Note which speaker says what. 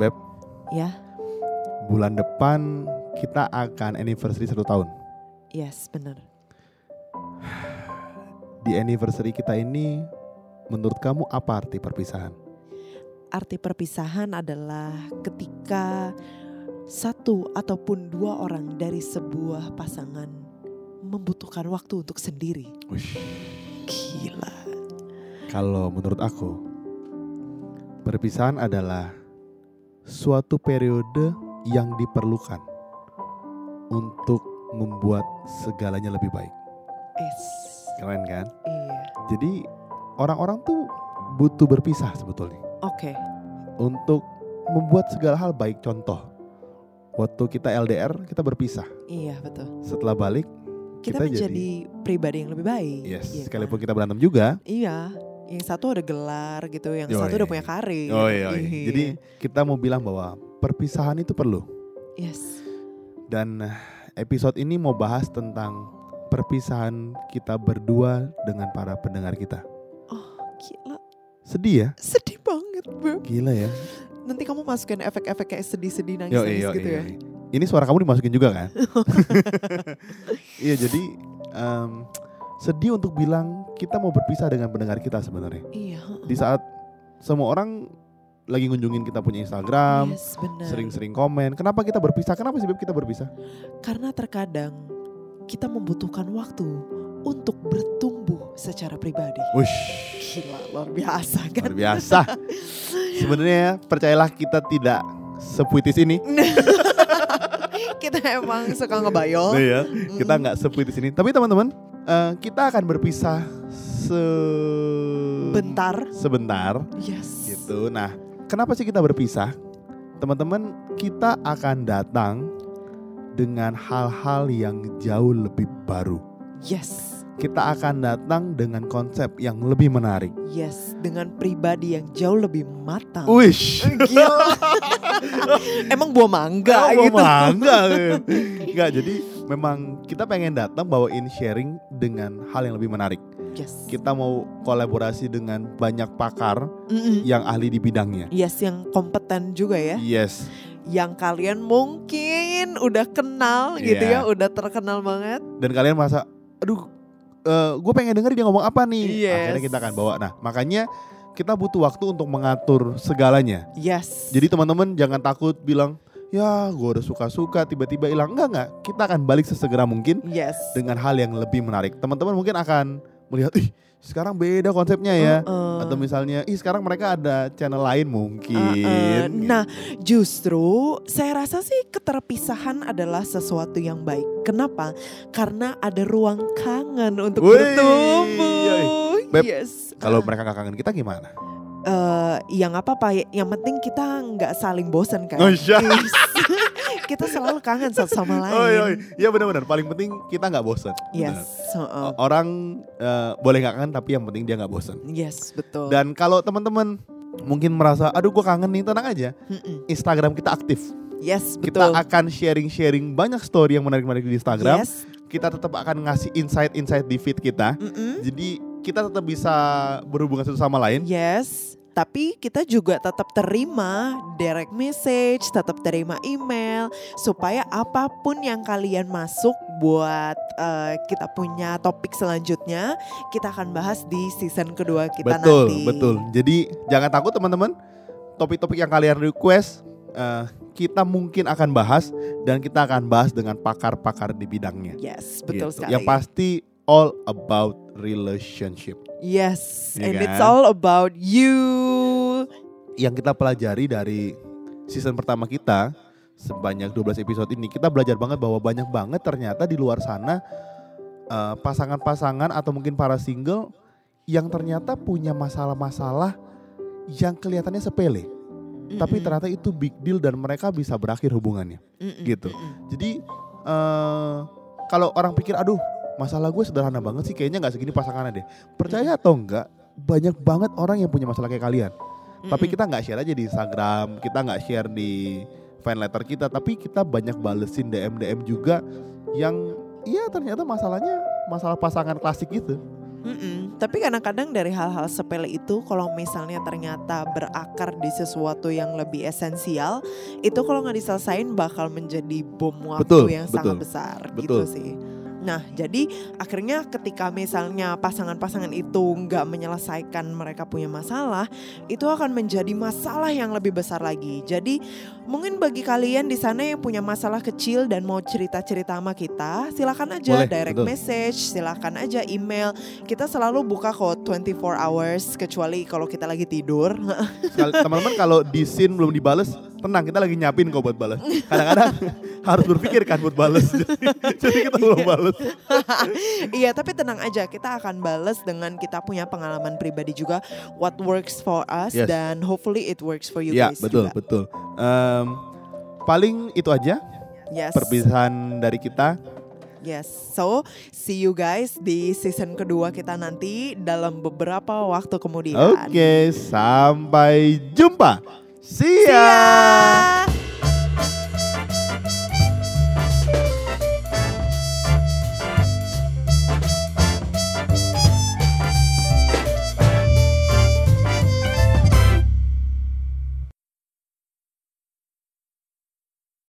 Speaker 1: Beb.
Speaker 2: Ya,
Speaker 1: Bulan depan kita akan anniversary satu tahun.
Speaker 2: yes, benar.
Speaker 1: Di anniversary kita ini, menurut kamu apa arti perpisahan?
Speaker 2: Arti perpisahan adalah ketika satu ataupun dua orang dari sebuah pasangan membutuhkan waktu untuk sendiri. Gila.
Speaker 1: Kalau menurut aku, perpisahan adalah suatu periode yang diperlukan untuk membuat segalanya lebih baik.
Speaker 2: Es.
Speaker 1: Keren kan?
Speaker 2: Iya.
Speaker 1: Jadi orang-orang tuh butuh berpisah sebetulnya
Speaker 2: Oke.
Speaker 1: untuk membuat segala hal baik. Contoh, waktu kita LDR kita berpisah.
Speaker 2: Iya, betul.
Speaker 1: Setelah balik
Speaker 2: Kita,
Speaker 1: Kita
Speaker 2: menjadi pribadi yang lebih baik.
Speaker 1: Yes,
Speaker 2: iya
Speaker 1: sekalipun
Speaker 2: kan?
Speaker 1: kita berantem juga.
Speaker 2: Iya. Yang satu ada gelar gitu, yang
Speaker 1: Yoi.
Speaker 2: satu udah punya karir. Iya.
Speaker 1: Oh, Jadi kita mau bilang bahwa perpisahan itu perlu.
Speaker 2: yes.
Speaker 1: Dan episode ini mau bahas tentang perpisahan kita berdua dengan para pendengar kita.
Speaker 2: Oh, gila.
Speaker 1: Sedih ya?
Speaker 2: Sedih banget, Beb.
Speaker 1: Gila ya.
Speaker 2: Nanti kamu masukin efek-efek kayak sedih-sedih
Speaker 1: Yoi,
Speaker 2: nangis-nangis
Speaker 1: yoi,
Speaker 2: gitu ya.
Speaker 1: yoi. Ini suara kamu dimasukin juga kan? iya, jadi em, sedih untuk bilang kita mau berpisah dengan pendengar kita sebenarnya.
Speaker 2: Iya.
Speaker 1: Di saat semua orang lagi ngunjungin kita punya Instagram,
Speaker 2: yes, benar.
Speaker 1: sering-sering komen. Kenapa kita berpisah? Kenapa sih Beb kita berpisah?
Speaker 2: Karena terkadang kita membutuhkan waktu untuk bertumbuh secara pribadi.
Speaker 1: Wush,
Speaker 2: Gila, luar biasa kan?
Speaker 1: luar biasa. Sebenarnya percayalah kita tidak sepuitis ini.
Speaker 2: kita emang suka ngebayol. Mm.
Speaker 1: Iya, Kita nggak sepuitis ini. Tapi teman-teman, eh, kita akan berpisah se-
Speaker 2: Bentar.
Speaker 1: sebentar
Speaker 2: Yes.
Speaker 1: gitu. Nah, kenapa sih kita berpisah? Teman-teman, kita akan datang dengan hal-hal yang jauh lebih baru.
Speaker 2: Yes.
Speaker 1: Kita akan datang dengan konsep yang lebih menarik.
Speaker 2: Yes, dengan pribadi yang jauh lebih matang.
Speaker 1: Wish.
Speaker 2: Gila. emang buah mangga gitu.
Speaker 1: enggak, enggak. Jadi memang kita pengen datang bawain sharing dengan hal yang lebih menarik.
Speaker 2: Yes.
Speaker 1: Kita mau kolaborasi dengan banyak pakar
Speaker 2: Mm-mm.
Speaker 1: yang ahli di bidangnya.
Speaker 2: Yes, yang kompeten juga ya.
Speaker 1: Yes,
Speaker 2: yang kalian mungkin udah kenal gitu
Speaker 1: Iya.
Speaker 2: ya, udah terkenal banget.
Speaker 1: dan kalian merasa, aduh, gue pengen denger dia ngomong apa nih.
Speaker 2: Yes.
Speaker 1: Akhirnya kita akan bawa. Nah, makanya kita butuh waktu untuk mengatur segalanya.
Speaker 2: Yes.
Speaker 1: Jadi teman-teman jangan takut bilang, ya gue udah suka-suka tiba-tiba hilang. Enggak, enggak. Kita akan balik sesegera mungkin
Speaker 2: yes.
Speaker 1: dengan hal yang lebih menarik. Teman-teman mungkin akan melihat, ih sekarang beda konsepnya ya.
Speaker 2: Uh-uh.
Speaker 1: Atau gitu. misalnya, ih sekarang mereka ada channel lain mungkin.
Speaker 2: Uh-uh. Nah, justru saya rasa sih keterpisahan adalah sesuatu yang baik. Kenapa? Karena ada ruang kangen untuk
Speaker 1: Wih, iya,
Speaker 2: bertumbuh.
Speaker 1: Beb,
Speaker 2: yes.
Speaker 1: Kalau mereka nggak kangen kita gimana?
Speaker 2: Eh, yang apa pak? Yang penting kita nggak saling bosan kan.
Speaker 1: Oh, iya.
Speaker 2: Yes. kita selalu kangen satu sama lain.
Speaker 1: Oh iya, iya benar-benar. Paling penting kita nggak bosan.
Speaker 2: Yes.
Speaker 1: Benar. Oh,
Speaker 2: uh-uh.
Speaker 1: O- Orang eh, boleh nggak kangen, tapi yang penting dia nggak bosan.
Speaker 2: Yes, betul.
Speaker 1: Dan kalau teman-teman mungkin merasa, aduh gue kangen nih, tenang aja.
Speaker 2: Mm-mm.
Speaker 1: Instagram kita aktif.
Speaker 2: Yes,
Speaker 1: Kita
Speaker 2: betul.
Speaker 1: akan sharing-sharing banyak story yang menarik-menarik di Instagram.
Speaker 2: Yes.
Speaker 1: Kita tetap akan ngasih insight-insight di feed kita.
Speaker 2: mm-mm.
Speaker 1: Jadi kita tetap bisa berhubungan satu sama
Speaker 2: Iya,
Speaker 1: lain.
Speaker 2: Yes, tapi kita juga tetap terima direct message, tetap terima email supaya apapun yang kalian masuk buat eh, kita punya topik selanjutnya kita akan bahas di season kedua kita
Speaker 1: betul,
Speaker 2: nanti.
Speaker 1: betul. Jadi jangan takut teman-teman. Topik-topik yang kalian request eh, kita mungkin akan bahas dan kita akan bahas dengan pakar-pakar di bidangnya.
Speaker 2: Yes, betul
Speaker 1: Gitu.
Speaker 2: sekali.
Speaker 1: Yang pasti all about relationship.
Speaker 2: Yes,
Speaker 1: Iya
Speaker 2: and
Speaker 1: kan?
Speaker 2: it's all about you.
Speaker 1: Yang kita pelajari dari season pertama kita sebanyak 12 episode ini kita belajar banget bahwa banyak banget ternyata di luar sana eh, pasangan-pasangan atau mungkin para single yang ternyata punya masalah-masalah yang kelihatannya sepele. tapi
Speaker 2: Mm-mm,
Speaker 1: ternyata itu big deal dan mereka bisa berakhir hubungannya.
Speaker 2: mm-mm,
Speaker 1: gitu.
Speaker 2: mm-mm.
Speaker 1: Jadi eh kalau orang pikir aduh masalah gue sederhana banget sih kayaknya nggak segini pasangannya deh. Percaya atau enggak banyak banget orang yang punya masalah kayak kalian. Tapi
Speaker 2: Mm-mm.
Speaker 1: kita nggak share aja di Instagram, kita nggak share di fan letter kita, tapi kita banyak balesin DM DM juga yang iya ternyata masalahnya masalah pasangan klasik gitu.
Speaker 2: Mm-mm. Tapi kadang-kadang dari hal-hal sepele itu kalau misalnya ternyata berakar di sesuatu yang lebih esensial, itu kalau nggak diselesain bakal menjadi bom waktu
Speaker 1: Betul,
Speaker 2: yang
Speaker 1: betul,
Speaker 2: sangat besar gitu
Speaker 1: betul.
Speaker 2: sih. Nah, jadi akhirnya ketika misalnya pasangan-pasangan itu nggak menyelesaikan mereka punya masalah, itu akan menjadi masalah yang lebih besar lagi. Jadi mungkin bagi kalian di sana yang punya masalah kecil dan mau cerita-cerita sama kita, silakan
Speaker 1: Boleh,
Speaker 2: aja direct
Speaker 1: betul.
Speaker 2: message, silakan aja email. Kita selalu buka kok 24 hours kecuali kalau kita lagi tidur.
Speaker 1: Sekali- teman-teman kalau di scene belum dibales tenang kita lagi nyiapin kok buat balas kadang-kadang harus berpikir kan buat balas jadi, jadi kita belum balas
Speaker 2: Iya, tapi tenang aja, kita akan bales dengan kita punya pengalaman pribadi juga what works for us
Speaker 1: Yes.
Speaker 2: dan hopefully it works for you
Speaker 1: ya
Speaker 2: guys
Speaker 1: betul
Speaker 2: juga.
Speaker 1: betul Em, paling itu aja
Speaker 2: Yes.
Speaker 1: perpisahan dari kita
Speaker 2: Yes. So, see you guys di season kedua kita nanti dalam Iya. beberapa waktu kemudian.
Speaker 1: oke sampai jumpa see ya
Speaker 2: See ya.